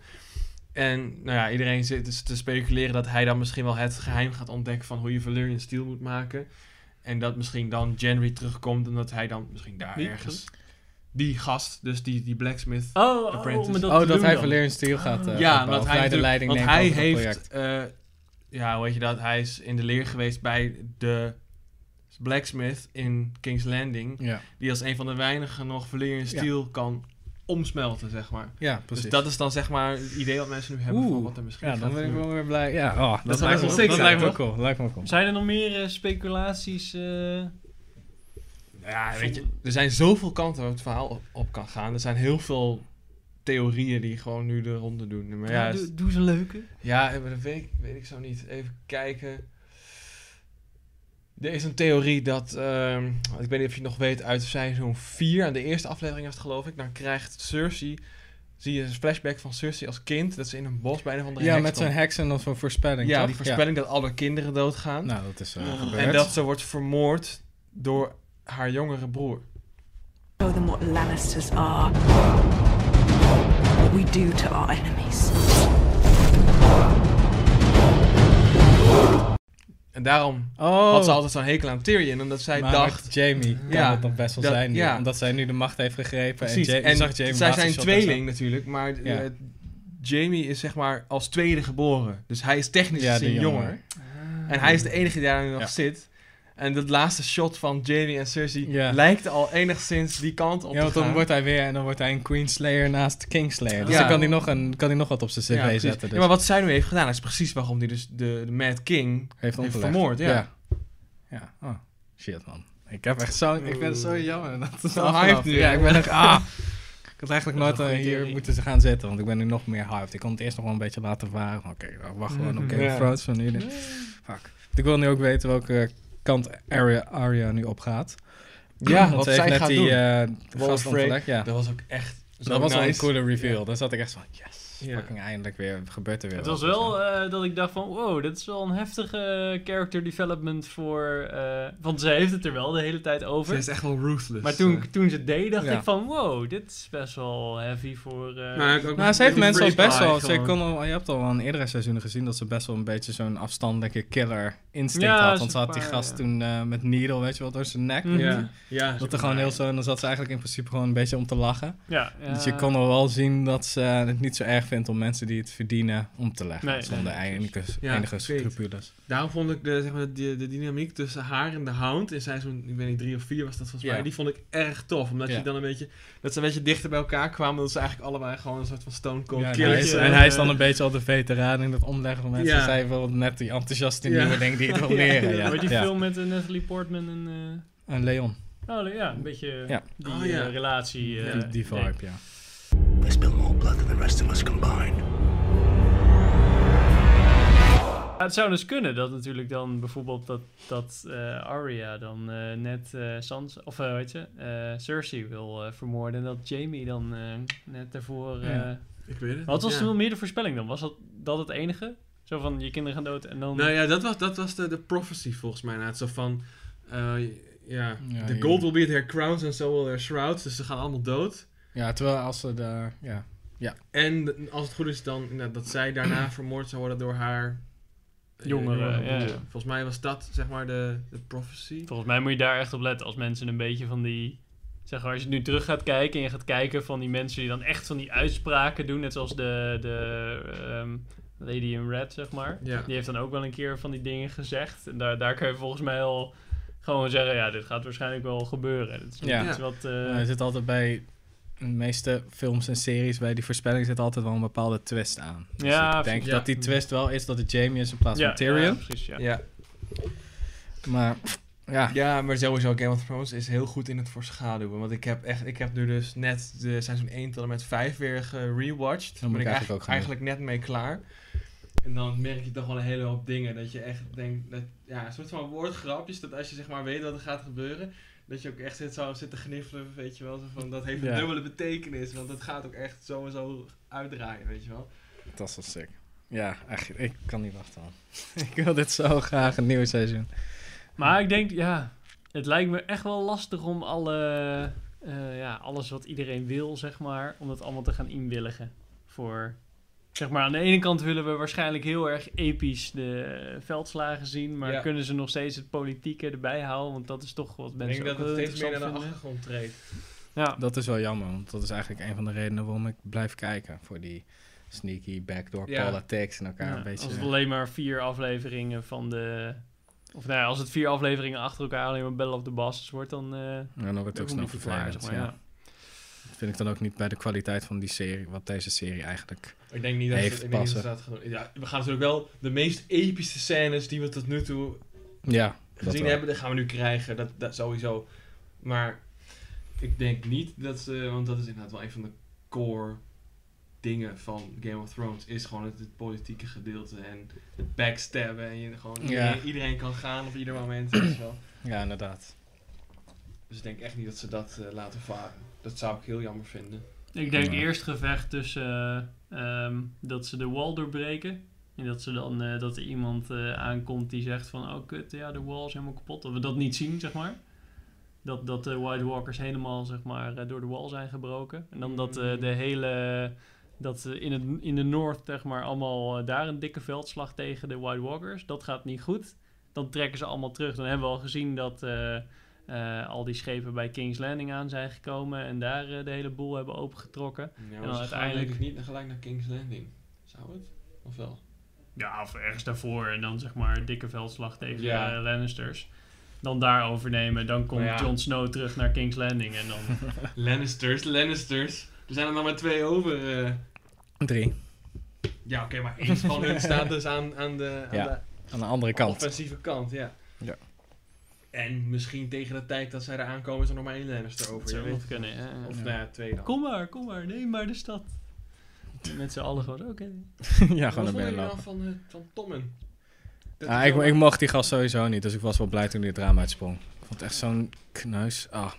[SPEAKER 3] En nou ja, iedereen zit dus te speculeren dat hij dan misschien wel het geheim gaat ontdekken van hoe je Valyrian Steel moet maken. En dat misschien dan January terugkomt, omdat hij dan misschien daar
[SPEAKER 1] Wie?
[SPEAKER 3] ergens... Die gast, dus die, die blacksmith.
[SPEAKER 1] Oh, oh,
[SPEAKER 3] Apprentice.
[SPEAKER 1] om dat
[SPEAKER 2] oh,
[SPEAKER 1] te
[SPEAKER 2] dat
[SPEAKER 1] doen
[SPEAKER 2] hij
[SPEAKER 1] dan.
[SPEAKER 2] Valerian Steel gaat eh,
[SPEAKER 3] ja,
[SPEAKER 2] opbouwen,
[SPEAKER 3] omdat
[SPEAKER 2] of
[SPEAKER 3] hij,
[SPEAKER 2] de
[SPEAKER 3] natuurlijk-
[SPEAKER 2] leiding
[SPEAKER 3] want
[SPEAKER 2] neemt
[SPEAKER 3] hij
[SPEAKER 2] over het project.
[SPEAKER 3] heeft... eh, ja, hoe heet je dat? Hij is in de leer geweest bij de blacksmith in King's Landing.
[SPEAKER 2] Ja,
[SPEAKER 3] die als een van de weinigen nog Valyrian Steel kan omsmelten, zeg maar.
[SPEAKER 2] ja precies.
[SPEAKER 3] Dus dat is dan zeg maar het idee wat mensen nu hebben van wat er misschien
[SPEAKER 2] ja, dan
[SPEAKER 3] gaat
[SPEAKER 2] ben ik
[SPEAKER 3] gebeuren.
[SPEAKER 2] wel weer blij. Ja, oh, dat,
[SPEAKER 3] Dat
[SPEAKER 2] lijkt
[SPEAKER 1] wel
[SPEAKER 2] me
[SPEAKER 1] sick
[SPEAKER 2] dat
[SPEAKER 1] zijn,
[SPEAKER 2] lijkt me
[SPEAKER 3] toch?
[SPEAKER 2] cool. Lijkt me cool.
[SPEAKER 1] Zijn er nog meer eh, speculaties? eh?
[SPEAKER 3] Ja, weet je, er zijn zoveel kanten waar het verhaal op, op kan gaan. Er zijn heel veel theorieën die gewoon nu de ronde doen. Maar ja,
[SPEAKER 1] Ja,
[SPEAKER 3] het-
[SPEAKER 1] nou, doe, doe ze leuke.
[SPEAKER 3] ja, maar dat weet ik, weet ik zo niet. Even kijken. Er is een theorie dat, ehm, ik weet niet of je het nog weet, uit seizoen 4, aan de eerste aflevering was het geloof ik, dan krijgt Cersei, zie je een flashback van Cersei als kind, dat ze in een bos bij een of andere
[SPEAKER 2] Ja,
[SPEAKER 3] heks
[SPEAKER 2] met
[SPEAKER 3] komt.
[SPEAKER 2] zijn heks en dan zo'n voorspelling,
[SPEAKER 3] Ja,
[SPEAKER 2] toch?
[SPEAKER 3] die voorspelling dat alle kinderen doodgaan.
[SPEAKER 2] Nou, dat is eh, gebeurd.
[SPEAKER 3] en dat ze wordt vermoord door haar jongere broer.
[SPEAKER 6] Show them what Lannisters are. What we do to our enemies.
[SPEAKER 3] En daarom
[SPEAKER 2] Oh,
[SPEAKER 3] had ze altijd zo'n hekel aan Tyrion, omdat zij
[SPEAKER 2] maar
[SPEAKER 3] dacht...
[SPEAKER 2] met Jamie kan
[SPEAKER 3] Ja,
[SPEAKER 2] dat dan best wel
[SPEAKER 3] dat-
[SPEAKER 2] zijn nu,
[SPEAKER 3] ja.
[SPEAKER 2] omdat zij nu de macht heeft gegrepen.
[SPEAKER 3] Precies,
[SPEAKER 2] En, Ja- je
[SPEAKER 3] en
[SPEAKER 2] zag Jamie
[SPEAKER 3] zij
[SPEAKER 2] laatste
[SPEAKER 3] zijn
[SPEAKER 2] shot daar zo.
[SPEAKER 3] tweeling natuurlijk, maar
[SPEAKER 2] Ja.
[SPEAKER 3] eh, Jamie is zeg maar als tweede geboren. Dus hij is technisch
[SPEAKER 2] Ja,
[SPEAKER 3] gezien
[SPEAKER 2] die
[SPEAKER 3] jonger.
[SPEAKER 2] jonger.
[SPEAKER 3] En hij is de enige die daar nu nog
[SPEAKER 2] Ja.
[SPEAKER 3] zit. En dat laatste shot van Jamie en Cersei
[SPEAKER 2] Ja.
[SPEAKER 3] lijkt al enigszins die kant op
[SPEAKER 2] Ja,
[SPEAKER 3] te
[SPEAKER 2] want dan
[SPEAKER 3] gaan.
[SPEAKER 2] wordt hij weer en dan wordt hij een Queenslayer naast Kingslayer. Dus
[SPEAKER 3] Ja.
[SPEAKER 2] dan kan hij, nog een, kan hij nog wat op zijn
[SPEAKER 3] Ja,
[SPEAKER 2] cv
[SPEAKER 3] precies.
[SPEAKER 2] zetten. Dus.
[SPEAKER 3] Ja, maar wat zij nu heeft gedaan, is precies waarom hij dus de, de Mad King
[SPEAKER 2] heeft
[SPEAKER 3] heeft
[SPEAKER 2] omgelegd.
[SPEAKER 3] vermoord. Ja.
[SPEAKER 2] ja. Ja. Oh, shit man. Ik heb echt zo... Ik ben het zo jammer dat het
[SPEAKER 3] Zo
[SPEAKER 2] afgelopen-
[SPEAKER 3] hyped nu,
[SPEAKER 2] Ja,
[SPEAKER 3] hè?
[SPEAKER 2] ik ben echt... Ah, ik had eigenlijk
[SPEAKER 3] Dat
[SPEAKER 2] nooit
[SPEAKER 3] is een
[SPEAKER 2] eh,
[SPEAKER 3] goede
[SPEAKER 2] hier
[SPEAKER 3] theorie.
[SPEAKER 2] moeten ze gaan zitten, want ik ben nu nog meer hyped. Ik kon het eerst nog wel een beetje laten varen. maar Oké, nou, wacht gewoon op
[SPEAKER 3] Mhm.
[SPEAKER 2] Game
[SPEAKER 3] Ja.
[SPEAKER 2] of Thrones van jullie. Fuck. Want Ik wil nu ook weten welke kant Arya, Arya nu op gaat.
[SPEAKER 3] Ja,
[SPEAKER 2] Want
[SPEAKER 3] wat
[SPEAKER 2] ze heeft
[SPEAKER 3] zij
[SPEAKER 2] net
[SPEAKER 3] gaat
[SPEAKER 2] die
[SPEAKER 3] doen.
[SPEAKER 2] eh,
[SPEAKER 3] Wall of
[SPEAKER 2] gast
[SPEAKER 3] Frey.
[SPEAKER 2] ontdekt. Ja.
[SPEAKER 3] Dat was ook echt zo
[SPEAKER 2] dat was wel een
[SPEAKER 3] nice.
[SPEAKER 2] coole reveal. Daar zat ik echt van, yes,
[SPEAKER 3] Ja.
[SPEAKER 2] fucking eindelijk weer, gebeurt er weer
[SPEAKER 1] Het
[SPEAKER 2] wat.
[SPEAKER 1] was wel eh, dat ik dacht van, wow, dit is wel een heftige character development voor... eh, want ze heeft het er wel de hele tijd
[SPEAKER 3] Ze
[SPEAKER 1] over.
[SPEAKER 3] is echt wel ruthless.
[SPEAKER 1] maar toen, toen ze het deed, dacht
[SPEAKER 2] ja.
[SPEAKER 1] ik van, wow, dit is best wel heavy voor... eh,
[SPEAKER 2] Nou, ze heeft
[SPEAKER 1] Die
[SPEAKER 2] mensen al
[SPEAKER 1] freak
[SPEAKER 2] best
[SPEAKER 1] guy
[SPEAKER 2] wel, ze
[SPEAKER 1] gewoon.
[SPEAKER 2] kon al, je hebt al wel in eerdere seizoenen gezien dat ze best wel een beetje zo'n afstandelijke killer instinct
[SPEAKER 1] Ja,
[SPEAKER 2] had. Want ze
[SPEAKER 1] zo'n
[SPEAKER 2] had die
[SPEAKER 1] paar,
[SPEAKER 2] gast
[SPEAKER 1] ja.
[SPEAKER 2] toen eh, met Needle, weet je wel, door zijn nek.
[SPEAKER 1] Mhm.
[SPEAKER 3] Ja, ja.
[SPEAKER 2] Dat er gewoon heel zo, en dan zat ze eigenlijk in principe gewoon een beetje om te lachen.
[SPEAKER 1] ja,
[SPEAKER 2] Dus je
[SPEAKER 1] ja.
[SPEAKER 2] kon al wel zien dat ze het niet zo erg vindt om mensen die het verdienen om te leggen.
[SPEAKER 1] Nee,
[SPEAKER 2] zonder
[SPEAKER 1] nee,
[SPEAKER 2] enige,
[SPEAKER 3] Ja,
[SPEAKER 2] enige
[SPEAKER 3] ik weet.
[SPEAKER 2] scrupules.
[SPEAKER 3] Daarom vond ik de, zeg maar, de, de dynamiek tussen haar en de Hound in seizoen, ik weet niet, drie of vier was dat volgens mij,
[SPEAKER 2] Ja.
[SPEAKER 3] die vond ik erg tof. Omdat
[SPEAKER 2] Ja.
[SPEAKER 3] je dan een beetje, dat ze een beetje dichter bij elkaar kwamen, dat ze eigenlijk allebei gewoon een soort van stone cold
[SPEAKER 2] Ja, en, hij
[SPEAKER 3] killers
[SPEAKER 2] is,
[SPEAKER 1] je-
[SPEAKER 2] en hij is dan een beetje al de veteraan in het omleggen van mensen.
[SPEAKER 3] Ja.
[SPEAKER 2] Dus hij wil net die enthousiaste
[SPEAKER 3] Ja.
[SPEAKER 2] nieuwe ding die het wil leren.
[SPEAKER 3] Ja,
[SPEAKER 2] Ja,
[SPEAKER 1] Weet je die
[SPEAKER 2] Ja.
[SPEAKER 1] film met eh, Natalie Portman en... eh,
[SPEAKER 2] En Leon,
[SPEAKER 1] oh ja, een beetje
[SPEAKER 2] Ja.
[SPEAKER 1] die
[SPEAKER 3] Oh, ja.
[SPEAKER 1] eh, relatie. eh,
[SPEAKER 2] die, die
[SPEAKER 1] ding.
[SPEAKER 2] vibe, ja.
[SPEAKER 7] They spilled more blood than the rest of us combined.
[SPEAKER 1] Ja, het zou dus kunnen dat natuurlijk dan bijvoorbeeld dat, dat eh, Arya dan eh, net eh Sans, of eh, weet je, eh, Cersei wil eh, vermoorden. En dat Jamie dan eh, net daarvoor... eh,
[SPEAKER 2] Ja.
[SPEAKER 3] Ik weet het.
[SPEAKER 1] Wat was
[SPEAKER 3] ja.
[SPEAKER 1] toen meer de voorspelling dan? Was dat, dat het enige? Zo van, je kinderen gaan dood en dan...
[SPEAKER 3] Nou ja, dat was, dat was de, de prophecy volgens mij. Nou, het zo van, eh, ja,
[SPEAKER 2] Ja,
[SPEAKER 3] the
[SPEAKER 2] je-
[SPEAKER 3] gold will be at their crowns and so will their shrouds. Dus ze gaan allemaal dood.
[SPEAKER 2] Ja, terwijl als ze daar... Ja.
[SPEAKER 3] En als het goed is dan nou, dat zij daarna vermoord zou worden door haar... eh,
[SPEAKER 1] Jongere,
[SPEAKER 3] jongere
[SPEAKER 1] ja,
[SPEAKER 3] broer.
[SPEAKER 1] ja.
[SPEAKER 3] Volgens mij was dat zeg maar de, de prophecy.
[SPEAKER 1] Volgens mij moet je daar echt op letten als mensen een beetje van die... Zeg maar, als je nu terug gaat kijken en je gaat kijken van die mensen die dan echt van die uitspraken doen. Net zoals de, de ehm, Lady in Red, zeg maar.
[SPEAKER 3] Ja.
[SPEAKER 1] Die heeft dan ook wel een keer van die dingen gezegd. En daar, daar kan je volgens mij al gewoon zeggen, ja, dit gaat waarschijnlijk wel gebeuren. Dat is niet
[SPEAKER 2] Ja.
[SPEAKER 1] iets wat... eh,
[SPEAKER 2] er zit altijd bij... De meeste films en series bij die voorspelling zit altijd wel een bepaalde twist aan. Dus
[SPEAKER 1] Ja,
[SPEAKER 2] ik denk
[SPEAKER 3] ja.
[SPEAKER 2] dat die twist wel is dat het Jamie is in plaats
[SPEAKER 1] ja,
[SPEAKER 2] van Tyrion.
[SPEAKER 1] ja, precies, ja.
[SPEAKER 3] Ja.
[SPEAKER 2] Maar ja,
[SPEAKER 3] Ja, maar sowieso Game of Thrones is heel goed in het voorschaduwen. Want ik heb, echt, ik heb nu dus net de seizoen 1 tot en met 5 weer gerewatcht. Daar
[SPEAKER 2] moet
[SPEAKER 3] ben
[SPEAKER 2] ik eigenlijk
[SPEAKER 3] ik eigenlijk,
[SPEAKER 2] ook gaan
[SPEAKER 3] eigenlijk net mee klaar. En dan merk je toch wel een hele hoop dingen. Dat je echt denkt, dat, ja, een soort van woordgrapjes. Dat als je zeg maar weet wat er gaat gebeuren, dat je ook echt zit, zou zitten gniffelen, weet je wel. Zo van, dat heeft een
[SPEAKER 2] Ja.
[SPEAKER 3] dubbele betekenis, want dat gaat ook echt zo en zo uitdraaien, weet je wel.
[SPEAKER 2] dat is wel sick. Ja, echt, ik kan niet wachten man. ik wil dit zo graag een nieuw seizoen.
[SPEAKER 1] Maar ik denk, ja, het lijkt me echt wel lastig om alle, eh, ja, alles wat iedereen wil, zeg maar, om dat allemaal te gaan inwilligen. Voor, zeg maar, aan de ene kant willen we waarschijnlijk heel erg episch de eh, veldslagen zien, maar
[SPEAKER 3] Ja.
[SPEAKER 1] kunnen ze nog steeds het politieke erbij houden? Want dat is toch wat
[SPEAKER 3] Ik
[SPEAKER 1] mensen
[SPEAKER 3] denk dat
[SPEAKER 1] ook
[SPEAKER 3] het
[SPEAKER 1] heel
[SPEAKER 3] steeds meer naar de
[SPEAKER 1] interessant vinden.
[SPEAKER 3] achtergrond treedt.
[SPEAKER 1] Ja.
[SPEAKER 2] Dat is wel jammer, want dat is eigenlijk een van de redenen waarom ik blijf kijken. Voor die sneaky backdoor
[SPEAKER 3] Ja.
[SPEAKER 2] politics en elkaar
[SPEAKER 1] Ja,
[SPEAKER 2] een beetje...
[SPEAKER 1] Als het alleen maar vier afleveringen van de... Of nou ja, als het vier afleveringen achter elkaar alleen maar Battle of the Bastards wordt, dan... eh
[SPEAKER 2] Ja, dan wordt het ook snel
[SPEAKER 1] verklaar,
[SPEAKER 2] verklaard. ja. Dat vind ik dan ook niet bij de kwaliteit van die serie, wat deze serie eigenlijk...
[SPEAKER 3] Ik denk niet dat
[SPEAKER 2] Heeft
[SPEAKER 3] ze, ik denk niet dat ze
[SPEAKER 2] passen.
[SPEAKER 3] dat gaan doen. Ja, we gaan natuurlijk wel de meest epische scènes die we tot nu toe
[SPEAKER 2] Ja,
[SPEAKER 3] gezien hebben, die gaan we nu krijgen. Dat, dat sowieso. Maar ik denk niet dat ze, want dat is inderdaad wel een van de core dingen van Game of Thrones, is gewoon het, het politieke gedeelte en het backstabben en je gewoon
[SPEAKER 2] Ja.
[SPEAKER 3] iedereen, iedereen kan gaan op ieder moment. weet je wel.
[SPEAKER 2] Ja, inderdaad.
[SPEAKER 3] Dus ik denk echt niet dat ze dat eh, laten varen. Dat zou ik heel jammer vinden.
[SPEAKER 1] Ik denk
[SPEAKER 2] Ja.
[SPEAKER 1] eerst gevecht tussen eh, ehm, dat ze de wall doorbreken. En dat, ze dan, eh, dat er iemand eh, aankomt die zegt van... Oh kut, ja, de wall is helemaal kapot. Dat we dat niet zien, zeg maar. Dat, dat de White Walkers helemaal zeg maar, eh, door de wal zijn gebroken. En dan dat eh, de hele. Dat ze in, het, in de North zeg maar, allemaal eh, daar een dikke veldslag tegen de White Walkers. Dat gaat niet goed. Dan trekken ze allemaal terug. Dan hebben we al gezien dat eh, eh, al die schepen bij King's Landing aan zijn gekomen. En daar eh, de hele boel hebben opengetrokken.
[SPEAKER 3] Ja,
[SPEAKER 1] dan
[SPEAKER 3] dan
[SPEAKER 1] uiteindelijk-
[SPEAKER 3] uiteindelijk niet gelijk naar King's Landing. Zou het? Of wel?
[SPEAKER 1] Ja, of ergens daarvoor. En dan zeg maar een dikke veldslag tegen
[SPEAKER 3] Ja.
[SPEAKER 1] de Lannisters. Dan daar overnemen. Dan komt
[SPEAKER 3] Maar ja.
[SPEAKER 1] Jon Snow terug naar King's Landing. En dan...
[SPEAKER 3] Lannisters, Lannisters. Er zijn er nog maar twee over. eh.
[SPEAKER 2] Drie.
[SPEAKER 3] Ja, oké, maar één van hun staat dus aan, aan de, aan
[SPEAKER 2] Ja,
[SPEAKER 3] de
[SPEAKER 2] Aan de andere kant.
[SPEAKER 3] offensieve kant, ja.
[SPEAKER 2] Ja.
[SPEAKER 3] En misschien tegen de tijd dat zij er aankomen is er nog maar één Lannister over.
[SPEAKER 1] Dat
[SPEAKER 3] je
[SPEAKER 1] zou
[SPEAKER 3] weet
[SPEAKER 1] nog
[SPEAKER 3] het.
[SPEAKER 1] kunnen, hè.
[SPEAKER 3] Of
[SPEAKER 2] Ja.
[SPEAKER 3] nou ja, twee dan.
[SPEAKER 1] Kom maar, kom maar. Neem maar de stad. Met z'n allen gewoon, oké.
[SPEAKER 2] ja,
[SPEAKER 3] Wat
[SPEAKER 2] gewoon naar
[SPEAKER 3] vond
[SPEAKER 2] binnen
[SPEAKER 3] je nou
[SPEAKER 2] lopen.
[SPEAKER 3] van, eh, van Tommen? Dat
[SPEAKER 2] Ah,
[SPEAKER 3] is
[SPEAKER 2] ik,
[SPEAKER 3] wel-
[SPEAKER 2] ik mocht die gast sowieso niet, dus ik was wel blij toen hij het raam uitsprong. Ik vond het echt zo'n kneus. Ah.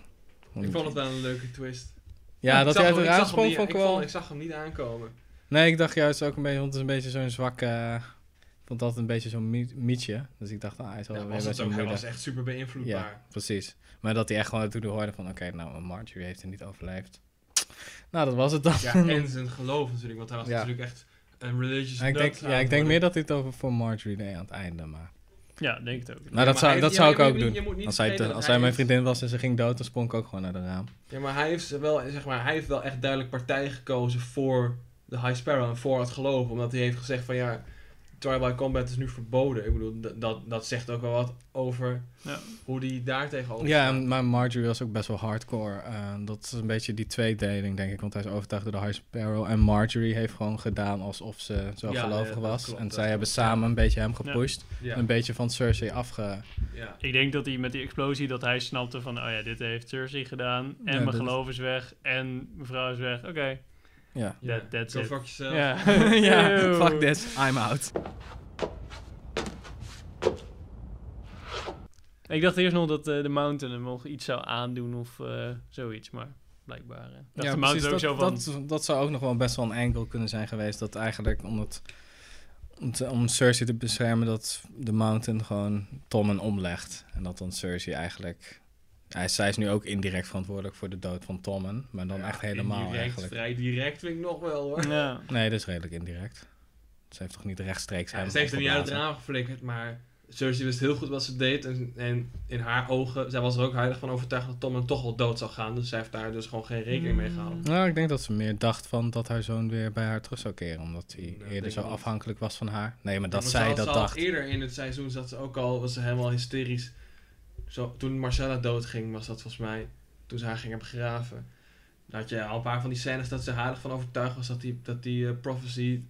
[SPEAKER 3] ik vond het wel een leuke twist.
[SPEAKER 2] Ja,
[SPEAKER 3] Ik
[SPEAKER 2] dat
[SPEAKER 3] zag
[SPEAKER 2] hij uit het
[SPEAKER 3] hem- ik zag
[SPEAKER 2] raam
[SPEAKER 3] hem
[SPEAKER 2] sprong
[SPEAKER 3] niet-
[SPEAKER 2] vond ik
[SPEAKER 3] ik
[SPEAKER 2] wel...
[SPEAKER 3] vond- Ik zag hem niet aankomen.
[SPEAKER 2] Nee, ik dacht juist ook een beetje, want het is een beetje zo'n zwak. eh, ik vond dat een beetje zo'n mi- mietje. Dus ik dacht, ah, hij is wel
[SPEAKER 3] Ja,
[SPEAKER 2] weer
[SPEAKER 3] was
[SPEAKER 2] best
[SPEAKER 3] het
[SPEAKER 2] wel
[SPEAKER 3] ook, hij
[SPEAKER 2] moeilijk.
[SPEAKER 3] was echt super
[SPEAKER 2] Ja,
[SPEAKER 3] beïnvloedbaar.
[SPEAKER 2] precies. Maar dat hij echt gewoon toen hij hoorde van, oké, nou, Marjorie heeft het niet overleefd. Nou, dat was het dan.
[SPEAKER 3] Ja, en dus zijn geloof natuurlijk, want hij was
[SPEAKER 2] Ja.
[SPEAKER 3] natuurlijk echt een religious
[SPEAKER 2] ik
[SPEAKER 3] nut
[SPEAKER 2] denk,
[SPEAKER 3] aan
[SPEAKER 2] ja, ik denk
[SPEAKER 3] het worden.
[SPEAKER 2] meer dat hij het over voor Marjorie deed aan het einde, maar...
[SPEAKER 1] Ja, denk het ook.
[SPEAKER 2] Nou, dat
[SPEAKER 3] maar
[SPEAKER 2] zou,
[SPEAKER 3] hij-
[SPEAKER 2] dat
[SPEAKER 3] ja,
[SPEAKER 2] zou ik
[SPEAKER 3] maar je
[SPEAKER 2] ook
[SPEAKER 3] moet niet- je
[SPEAKER 2] doen.
[SPEAKER 3] moet niet
[SPEAKER 2] als hij,
[SPEAKER 3] vergeten
[SPEAKER 2] te-
[SPEAKER 3] dat
[SPEAKER 2] als
[SPEAKER 3] hij
[SPEAKER 2] hij mijn
[SPEAKER 3] is-
[SPEAKER 2] vriendin was en ze ging dood, dan sprong ik ook gewoon naar de raam.
[SPEAKER 3] Ja, maar hij heeft wel, zeg maar, hij heeft wel echt duidelijk partij gekozen voor de High Sparrow en voor het geloof. Omdat hij heeft gezegd van ja, Tribal Combat is nu verboden. Ik bedoel, d- dat, dat zegt ook wel wat over
[SPEAKER 1] Ja.
[SPEAKER 3] hoe die daar tegenover
[SPEAKER 2] Ja,
[SPEAKER 3] staat.
[SPEAKER 2] en- maar Marjorie was ook best wel hardcore. Eh, dat is een beetje die tweedeling, denk ik. Want hij is overtuigd door de High Sparrow. En Marjorie heeft gewoon gedaan alsof ze zo
[SPEAKER 3] Ja,
[SPEAKER 2] gelovig
[SPEAKER 3] ja, dat
[SPEAKER 2] was.
[SPEAKER 3] klopt,
[SPEAKER 2] en
[SPEAKER 3] dat
[SPEAKER 2] zij hebben
[SPEAKER 3] klopt, ja.
[SPEAKER 2] samen een beetje hem gepusht.
[SPEAKER 3] ja,
[SPEAKER 2] Een beetje van Cersei afge...
[SPEAKER 3] ja.
[SPEAKER 1] Ik denk dat hij met die explosie, dat hij snapte van, oh ja, dit heeft Cersei gedaan. En
[SPEAKER 2] Ja,
[SPEAKER 1] mijn
[SPEAKER 2] dat-
[SPEAKER 1] geloof is weg. En mevrouw is weg. Oké,
[SPEAKER 2] Ja.
[SPEAKER 1] that-
[SPEAKER 3] Ja.
[SPEAKER 1] that's
[SPEAKER 3] Go
[SPEAKER 1] it.
[SPEAKER 3] fuck yourself.
[SPEAKER 1] Ja,
[SPEAKER 2] ja,
[SPEAKER 1] Eeuw.
[SPEAKER 2] fuck this, I'm out.
[SPEAKER 1] Ik dacht eerst nog dat eh, de Mountain hem nog iets zou aandoen of eh, zoiets, maar blijkbaar. eh, dacht
[SPEAKER 2] Ja,
[SPEAKER 1] de
[SPEAKER 2] precies,
[SPEAKER 1] Mountain ook
[SPEAKER 2] dat,
[SPEAKER 1] zo van.
[SPEAKER 2] dat, dat zou ook nog wel best wel een angle kunnen zijn geweest. Dat eigenlijk om, het, om, te- om Cersei te beschermen... dat de Mountain gewoon Tommen omlegt. En dat dan Cersei eigenlijk... Hij, zij is nu ook indirect verantwoordelijk voor de dood van Tommen. Maar dan
[SPEAKER 3] Ja,
[SPEAKER 2] echt helemaal
[SPEAKER 3] indirect,
[SPEAKER 2] eigenlijk.
[SPEAKER 3] Vrij direct vind ik nog wel hoor.
[SPEAKER 1] Ja.
[SPEAKER 2] Nee, dat is redelijk indirect. Ze heeft toch niet rechtstreeks
[SPEAKER 3] Ja,
[SPEAKER 2] hem
[SPEAKER 3] ze heeft er niet uit het
[SPEAKER 2] opgeblazen?
[SPEAKER 3] raam geflikkerd, maar Cersei wist heel goed wat ze deed. En, en in haar ogen, zij was er ook heilig van overtuigd dat Tommen toch wel dood zou gaan. Dus zij heeft daar dus gewoon geen rekening mee gehouden.
[SPEAKER 2] Nou, ik denk dat ze meer dacht van dat haar zoon weer bij haar terug zou keren. Omdat hij
[SPEAKER 3] Nou, denk
[SPEAKER 2] eerder zo
[SPEAKER 3] ik niet.
[SPEAKER 2] afhankelijk was van haar. Nee, maar dat
[SPEAKER 3] Maar
[SPEAKER 2] zij
[SPEAKER 3] ze had-
[SPEAKER 2] dat
[SPEAKER 3] ze had
[SPEAKER 2] dacht.
[SPEAKER 3] Eerder in het seizoen zat ze ook al, was ze helemaal hysterisch. Zo, toen Marcella doodging, was dat volgens mij, toen ze haar gingen begraven. Dan had je al een paar van die scènes dat ze heilig van overtuigd was dat die, dat die eh, prophecy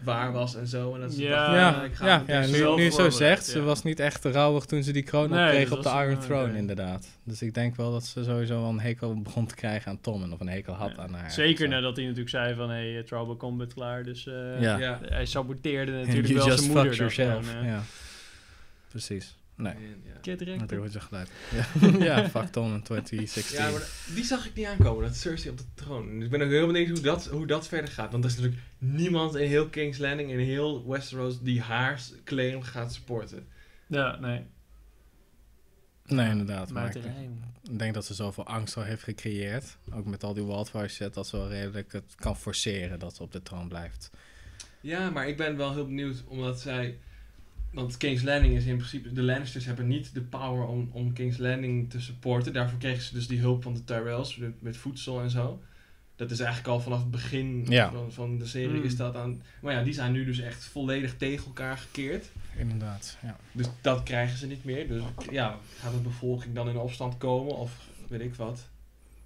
[SPEAKER 3] waar was en zo. En dat ze
[SPEAKER 1] Ja.
[SPEAKER 3] dacht,
[SPEAKER 2] Ja,
[SPEAKER 3] ik ga
[SPEAKER 2] ja,
[SPEAKER 3] met
[SPEAKER 2] ja,
[SPEAKER 3] deze
[SPEAKER 2] nu,
[SPEAKER 1] zelf
[SPEAKER 2] nu je zo
[SPEAKER 1] voorbereid,
[SPEAKER 2] zegt, ze
[SPEAKER 1] ja.
[SPEAKER 2] was niet echt rouwig toen ze die kroon
[SPEAKER 1] Nee,
[SPEAKER 2] opkreeg
[SPEAKER 1] dat
[SPEAKER 2] op de
[SPEAKER 1] was-
[SPEAKER 2] Iron
[SPEAKER 1] nee,
[SPEAKER 2] Throne,
[SPEAKER 1] nee.
[SPEAKER 2] inderdaad. Dus ik denk wel dat ze sowieso wel een hekel begon te krijgen aan Tommen. Of een hekel had
[SPEAKER 1] Ja,
[SPEAKER 2] aan haar.
[SPEAKER 1] Zeker
[SPEAKER 2] Zo.
[SPEAKER 1] nadat hij natuurlijk zei van, hey, eh, Trouble Combat klaar, dus... eh,
[SPEAKER 2] Ja.
[SPEAKER 3] Ja.
[SPEAKER 1] Hij saboteerde
[SPEAKER 2] And
[SPEAKER 1] natuurlijk
[SPEAKER 2] you
[SPEAKER 1] wel
[SPEAKER 2] just
[SPEAKER 1] zijn
[SPEAKER 2] fucked
[SPEAKER 1] moeder. dan
[SPEAKER 2] yourself.
[SPEAKER 1] gewoon, eh.
[SPEAKER 2] ja. Precies. Nee,
[SPEAKER 3] En, ja.
[SPEAKER 1] Kid Rekker.
[SPEAKER 2] dat wordt je gelijk. Ja, ja fuck Tommen 2016.
[SPEAKER 3] Ja, maar da- die zag ik niet aankomen, dat Cersei op de troon. Dus ik ben ook heel benieuwd hoe dat, hoe dat verder gaat. Want er is natuurlijk niemand in heel King's Landing, in heel Westeros, die haar s- claim gaat supporten.
[SPEAKER 1] Ja, nee.
[SPEAKER 2] Nee, inderdaad. Maar ik,
[SPEAKER 1] Muiterij, jongen.
[SPEAKER 2] ik denk dat ze zoveel angst al heeft gecreëerd. Ook met al die wildfires set, dat ze wel redelijk het kan forceren dat ze op de troon blijft.
[SPEAKER 3] Ja, maar ik ben wel heel benieuwd, omdat zij... Want King's Landing is in principe... De Lannisters hebben niet de power om, om King's Landing te supporten. Daarvoor kregen ze dus die hulp van de Tyrells met, met voedsel en zo. Dat is eigenlijk al vanaf het begin
[SPEAKER 2] Ja.
[SPEAKER 3] van, van de serie
[SPEAKER 1] Mm.
[SPEAKER 3] is dat aan... Maar ja, die zijn nu dus echt volledig tegen elkaar gekeerd.
[SPEAKER 2] Inderdaad, ja.
[SPEAKER 3] Dus dat krijgen ze niet meer. Dus ja, gaat de bevolking dan in opstand komen of weet ik wat?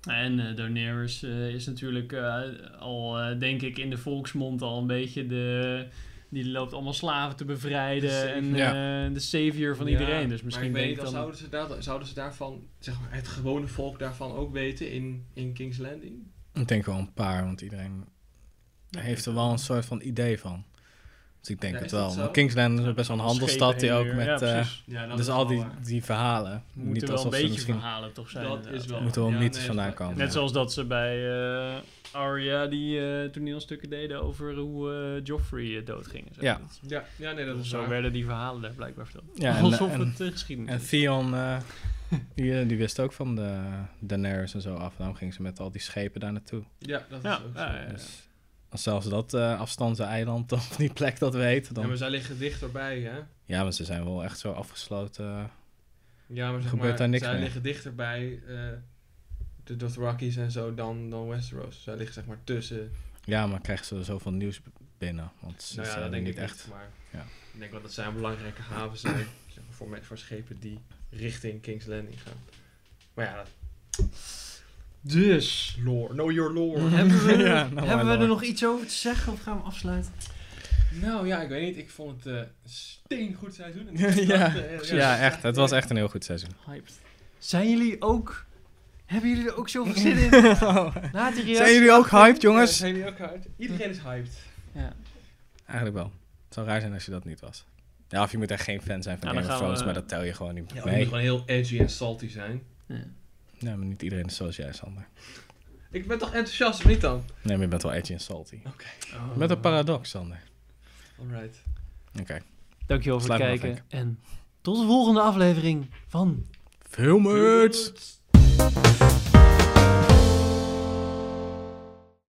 [SPEAKER 1] En eh Daenerys eh, is natuurlijk eh, al, eh, denk ik, in de volksmond al een beetje de... Die loopt allemaal slaven te
[SPEAKER 3] De
[SPEAKER 1] bevrijden
[SPEAKER 3] savior.
[SPEAKER 1] en eh, de savior van
[SPEAKER 3] Ja,
[SPEAKER 1] iedereen. Dus misschien
[SPEAKER 3] maar ik
[SPEAKER 1] denk
[SPEAKER 3] weet
[SPEAKER 1] ik
[SPEAKER 3] niet,
[SPEAKER 1] dan...
[SPEAKER 3] dan... zouden, ze daar, zouden ze daarvan, zeg maar, het gewone volk daarvan ook weten in, in King's Landing?
[SPEAKER 2] Ik denk wel een paar, want iedereen heeft er wel een soort van idee van. Dus ik denk
[SPEAKER 3] Ja,
[SPEAKER 2] het
[SPEAKER 3] is dat
[SPEAKER 2] wel.
[SPEAKER 3] zo?
[SPEAKER 2] Maar Kingsland is best wel een handelstad die
[SPEAKER 1] Schepen heen
[SPEAKER 2] ook
[SPEAKER 1] en weer.
[SPEAKER 2] met...
[SPEAKER 1] Ja,
[SPEAKER 2] eh,
[SPEAKER 1] precies.
[SPEAKER 3] Ja,
[SPEAKER 2] dus al die, die verhalen.
[SPEAKER 1] eh, Moeten
[SPEAKER 2] niet
[SPEAKER 1] wel een
[SPEAKER 2] alsof ze
[SPEAKER 1] beetje
[SPEAKER 2] misschien...
[SPEAKER 1] verhalen toch zijn. eh,
[SPEAKER 3] Dat
[SPEAKER 1] inderdaad,
[SPEAKER 3] is wel-
[SPEAKER 1] ja.
[SPEAKER 2] Moeten wel
[SPEAKER 3] Ja,
[SPEAKER 2] mythes
[SPEAKER 3] nee,
[SPEAKER 2] vandaan
[SPEAKER 3] dat-
[SPEAKER 2] komen.
[SPEAKER 1] Net
[SPEAKER 2] ja.
[SPEAKER 1] zoals dat ze bij eh, Arya die eh, toneelstukken deden over hoe eh, Joffrey eh, doodging. en zo.
[SPEAKER 2] Ja.
[SPEAKER 1] Dat-
[SPEAKER 3] Ja, ja nee, dat
[SPEAKER 1] dat-
[SPEAKER 3] is
[SPEAKER 1] zo
[SPEAKER 3] waar.
[SPEAKER 1] werden die verhalen daar blijkbaar verteld.
[SPEAKER 2] Ja, en,
[SPEAKER 1] Alsof
[SPEAKER 2] en,
[SPEAKER 1] het eh, geschiedenis
[SPEAKER 2] en
[SPEAKER 1] is.
[SPEAKER 2] Theon eh, Die, eh, die wist ook van de Daenerys en zo af. Daarom ging ze met al die schepen daar naartoe.
[SPEAKER 3] Ja, dat is
[SPEAKER 1] Ja,
[SPEAKER 3] ook zo.
[SPEAKER 1] ja, ja, ja.
[SPEAKER 2] Dus als zelfs dat eh afstand zijn eiland of die plek dat weet, dan...
[SPEAKER 3] Ja, maar zij liggen dichterbij, hè?
[SPEAKER 2] Ja, maar ze zijn wel echt zo afgesloten.
[SPEAKER 3] Ja, maar zeg
[SPEAKER 2] Gebeurt
[SPEAKER 3] maar,
[SPEAKER 2] daar niks
[SPEAKER 3] zij
[SPEAKER 2] mee.
[SPEAKER 3] liggen dichterbij eh de Dothrakis en zo dan, dan Westeros. Zij liggen zeg maar tussen.
[SPEAKER 2] Ja, maar krijgen ze zoveel nieuws binnen. Want ze
[SPEAKER 3] nou ja,
[SPEAKER 2] zijn
[SPEAKER 3] dat
[SPEAKER 2] er
[SPEAKER 3] denk ik
[SPEAKER 2] Dus eh, niet
[SPEAKER 3] echt.
[SPEAKER 2] echt.
[SPEAKER 3] maar
[SPEAKER 2] Ja.
[SPEAKER 3] ik denk wel dat zij een belangrijke haven zijn zeg maar, voor, me- voor schepen die richting King's Landing gaan. Maar ja, dat- dus lore. Know your lore.
[SPEAKER 1] Hebben we,
[SPEAKER 2] Ja, nou, maar
[SPEAKER 1] hebben we er
[SPEAKER 2] dan.
[SPEAKER 1] nog iets over te zeggen of gaan we afsluiten?
[SPEAKER 3] nou ja, ik weet niet. Ik vond het eh, een steengoed seizoen.
[SPEAKER 2] ja,
[SPEAKER 3] Eh,
[SPEAKER 2] ja, echt. Het was echt een heel goed seizoen.
[SPEAKER 1] Hyped. Zijn jullie ook... Hebben jullie er ook zoveel zin in? Na die
[SPEAKER 2] Zijn
[SPEAKER 1] reactie...
[SPEAKER 2] jullie ook hyped,
[SPEAKER 3] Ja,
[SPEAKER 2] jongens?
[SPEAKER 3] zijn jullie ook hyped? Iedereen is hyped.
[SPEAKER 1] Ja.
[SPEAKER 2] Eigenlijk wel. Het zou raar zijn als je dat niet was. Ja, of je moet echt geen fan zijn van
[SPEAKER 1] Ja, dan
[SPEAKER 2] Game of
[SPEAKER 1] gaan
[SPEAKER 2] Thrones,
[SPEAKER 1] we-
[SPEAKER 2] maar dat tel je gewoon niet
[SPEAKER 3] Ja,
[SPEAKER 2] mee.
[SPEAKER 3] moet gewoon heel edgy en salty zijn.
[SPEAKER 2] Nee, maar niet iedereen is zoals jij, Sander.
[SPEAKER 3] Ik ben toch enthousiast, of niet dan?
[SPEAKER 2] Nee, maar je bent wel edgy en salty.
[SPEAKER 1] Oh.
[SPEAKER 2] Met een paradox, Sander.
[SPEAKER 3] Alright.
[SPEAKER 2] Oké.
[SPEAKER 1] Dankjewel voor het
[SPEAKER 2] Sluit maar af,
[SPEAKER 1] kijken. En tot de volgende aflevering van
[SPEAKER 2] Veel merch!
[SPEAKER 3] Doei.